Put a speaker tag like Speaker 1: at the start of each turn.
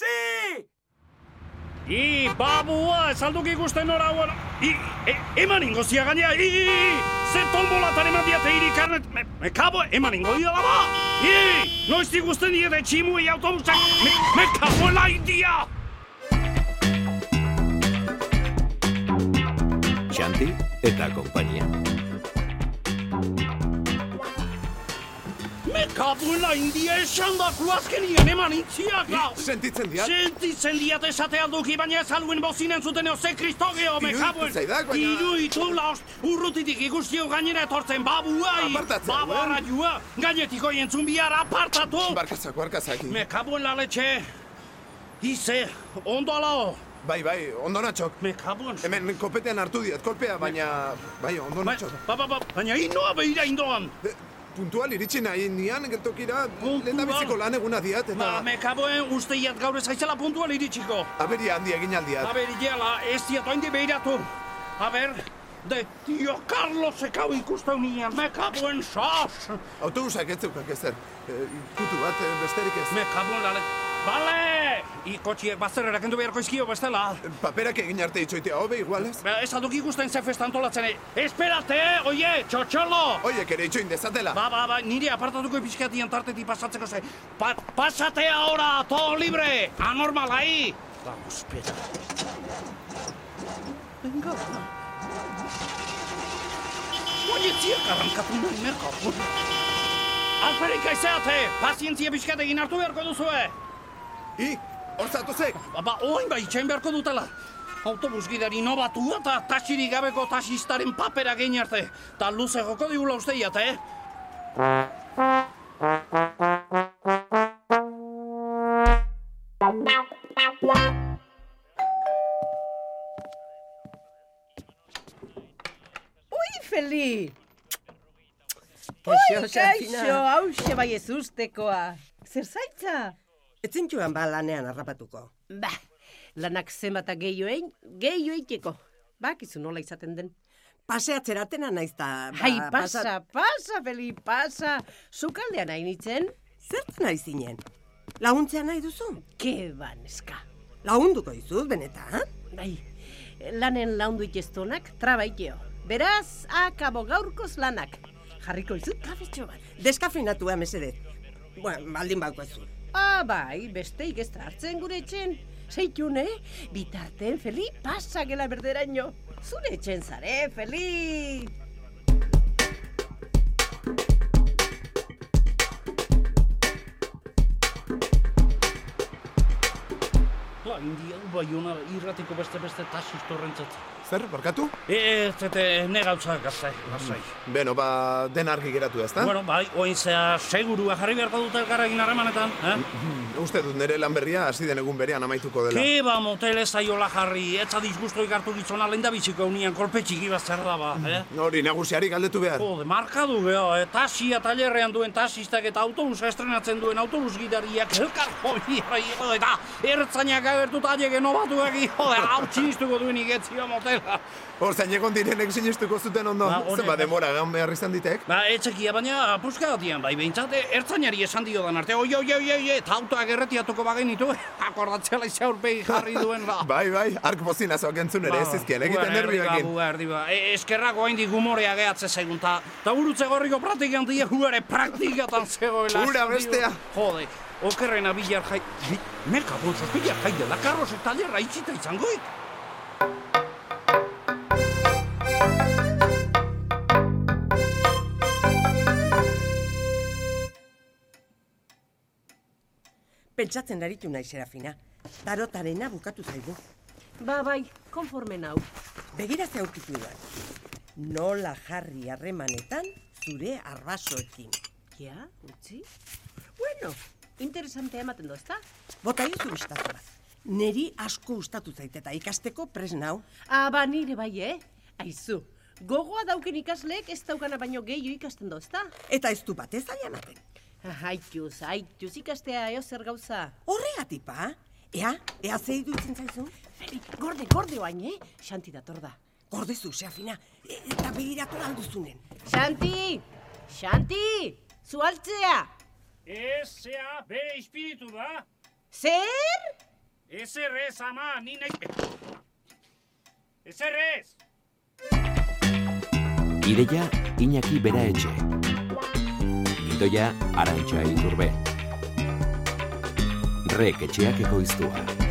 Speaker 1: taksi!
Speaker 2: I, babua, ezalduk ikusten nora hau... I, e, eman ingo zia gainea, i, i, i, ze tombolatan eman diate hiri karnet... Me, me kabo, eman ingo dira ba! I, noiz ikusten diete tximuei autobusak... Me, me kabo laidia!
Speaker 3: Xanti eta kompainia.
Speaker 2: Me kabo laindia esan da azkenien eman intziak gau!
Speaker 3: Sentitzen diat?
Speaker 2: Sentitzen diat esate alduki, baina ez alduen bozinen zuten eo, ze kristogeo, me
Speaker 3: Diru
Speaker 2: kabo...
Speaker 3: itzai da, baina-
Speaker 2: Diru itula, ost, urrutitik ikustio gainera etortzen babuai!
Speaker 3: Apartatzen, eh?
Speaker 2: Babuara joa, gainetiko jentzun bihar apartatu!
Speaker 3: Barkazak, barkazak.
Speaker 2: Me cago en la leche. Ize, ondo alao.
Speaker 3: Bai, bai, ondonatxok.
Speaker 2: Me cago en...
Speaker 3: Hemen kopetean hartu diat, kolpea, baina... Bai,
Speaker 2: Ba,
Speaker 3: ondonatxok.
Speaker 2: ba, ba, ba, baina inoa behira indoan.
Speaker 3: E, Puntual iritsi nahi nian gertokira,
Speaker 2: Bai. Puntual.
Speaker 3: lenda biziko lan eguna diat,
Speaker 2: Ba,
Speaker 3: eta
Speaker 2: me cago en usteiat gaur ez aizela puntual iritsiko.
Speaker 3: aberia handia egin aldiat.
Speaker 2: Aber, jela, ez diat oindi behiratu. Aber, de tio Carlos ekau ikusten nian, me cago en sos.
Speaker 3: Autobusak ez zeukak ezer. E, Kutu bat, e, besterik ez.
Speaker 2: Me cago en la leche. Bale! Ikotxiek bazterrerak endu beharko izkio bestela.
Speaker 3: Eh, Paperak egin arte itxoitea hobe, igual ez?
Speaker 2: Ba, ez aduk ikusten ze festa antolatzen. eh? Esperate, oie, txotxolo!
Speaker 3: Oiek ere itxoin dezatela.
Speaker 2: Ba, ba, ba, nire apartatuko epizkatian tartetik pasatzeko ze. Pa, pasate ahora, todo libre, anormal ahí. Vamos, pera. Venga. Oie, ziak arrankatu nahi merkatu. Alperik aizeate, pazientzia pixkat egin hartu beharko duzue.
Speaker 3: I, hor zatozek!
Speaker 2: Ba, ba, oin bai, itxain beharko dutela. Autobus gidari nobatu eta tasiri gabeko tasistaren papera gein arte. Ta luze joko digula usteiat, eh?
Speaker 4: Ui, Bai, Feli!
Speaker 5: Kaixo,
Speaker 4: Kaixo,
Speaker 5: Serafina.
Speaker 4: hause bai ez ustekoa. Zer zaitza?
Speaker 5: Etzin joan ba lanean harrapatuko.
Speaker 4: Ba, lanak zemata gehioen, gehioeiteko. Bakizu nola izaten den.
Speaker 5: Paseatzera atena naiz da... ba,
Speaker 4: Hai, pasa,
Speaker 5: pasa-
Speaker 4: pasa, Feli, pasa. Zukaldean hain itzen,
Speaker 5: Zertan nahi zinen? Laguntzea nahi duzu?
Speaker 4: ke baneska.
Speaker 5: Lagunduko dizut, benetan?
Speaker 4: Bai, lanen laundu itestonak trabaikeo. Beraz, akabo gaurkoz lanak. Jarriko izut kafetxo bat.
Speaker 5: Deskafinatua eh, mesedez. Bueno, baldin bauko ez
Speaker 4: Ah, bai, besteik ez da hartzen gure etxen. Zeitun, eh? Bitarten, Feli, pasa gela berderaino. Zure etxen zare, Feli!
Speaker 2: La India Ubaiona bai, irratiko beste beste tasistorrentzat.
Speaker 3: Zer, barkatu?
Speaker 2: E, ez, eta ne gauza gazai, gazai.
Speaker 3: Beno, ba, den argi geratu ezta?
Speaker 2: Bueno, bai, oin zea segurua jarri beharko dut elkarrekin harremanetan, eh?
Speaker 3: Hmm, Uste dut nire lan berria hasi den egun berean amaituko dela.
Speaker 2: Keba motel ez ba, zaiola jarri, etza disgustoik hartu gizona lenda biziko unian kolpe txiki bat zer da ba, eh?
Speaker 3: Hori nagusiari galdetu behar.
Speaker 2: Jode, markadu geho, eh? Tasia talerrean duen tasistak eta autobusa estrenatzen duen autobus gidariak elkar joia, jo, eta ertzainak agertu taiegen obatuak, jode, hau txistuko duen igetzio motela.
Speaker 3: Hor zain egon direnek sinistuko zuten ondo.
Speaker 2: Ba, honek-
Speaker 3: Zenba demora gan behar izan ditek.
Speaker 2: Ba, etxekia baina puskatian, bai, behintzat, eh, ertzainari esan dio dan arte, oi, oi, oi, oi, eta autoak erretiatuko bagenitu, eh, akordatzela izan aurpegi jarri duen da.
Speaker 3: Bai, bai, ark bozinazoak entzun ere ez izkien, egiten nervioekin.
Speaker 2: Ba, erdiba, e, eskerrako hain gumorea gehatze zegun, ta, ta urutze gorriko pratikan die huare eh, praktikatan zegoela.
Speaker 3: Hura
Speaker 2: esan dio.
Speaker 3: bestea.
Speaker 2: Jode, okerrena bilar jai... Bi, Merka bolsos, bilar jai dela, karros eta lerra itxita izangoik.
Speaker 5: Pentsatzen aritu nahi, Serafina. Tarotarena bukatu zaigu.
Speaker 4: Ba, bai, konforme nau.
Speaker 5: Begira ze aurkitu dudan. Nola jarri harremanetan zure arbasoekin.
Speaker 4: Ja, utzi?
Speaker 5: Bueno,
Speaker 4: Interesantea ematen dozta?
Speaker 5: bota izu biztatu bat. Neri asko ustatu zaiteta ikasteko presnau.
Speaker 4: Ah, ba, nire bai, eh? Aizu, gogoa dauken ikasleek ez daukana baino gehiu ikasten dozta?
Speaker 5: Eta ez du batez zaila ematen.
Speaker 4: Ah, Aituz, aituz, ikastea eo zer gauza.
Speaker 5: Horregatik, pa? Ea, ea ze iruditzen zaizu?
Speaker 4: Feli, gorde, gorde oain, eh? Xanti dator da.
Speaker 5: Gordezu, Serafina, e- eta begiratu alduzunen.
Speaker 4: Xanti! Xanti! Zualtzea!
Speaker 2: S.A.B. espiritu da.
Speaker 4: Zer?
Speaker 2: Ezer ez, ama, ni nahi... Eh. Ezer ez!
Speaker 1: Ideia Iñaki Bera Etxe. Gidoia Arantxa Iturbe. Rek etxeak ekoiztua.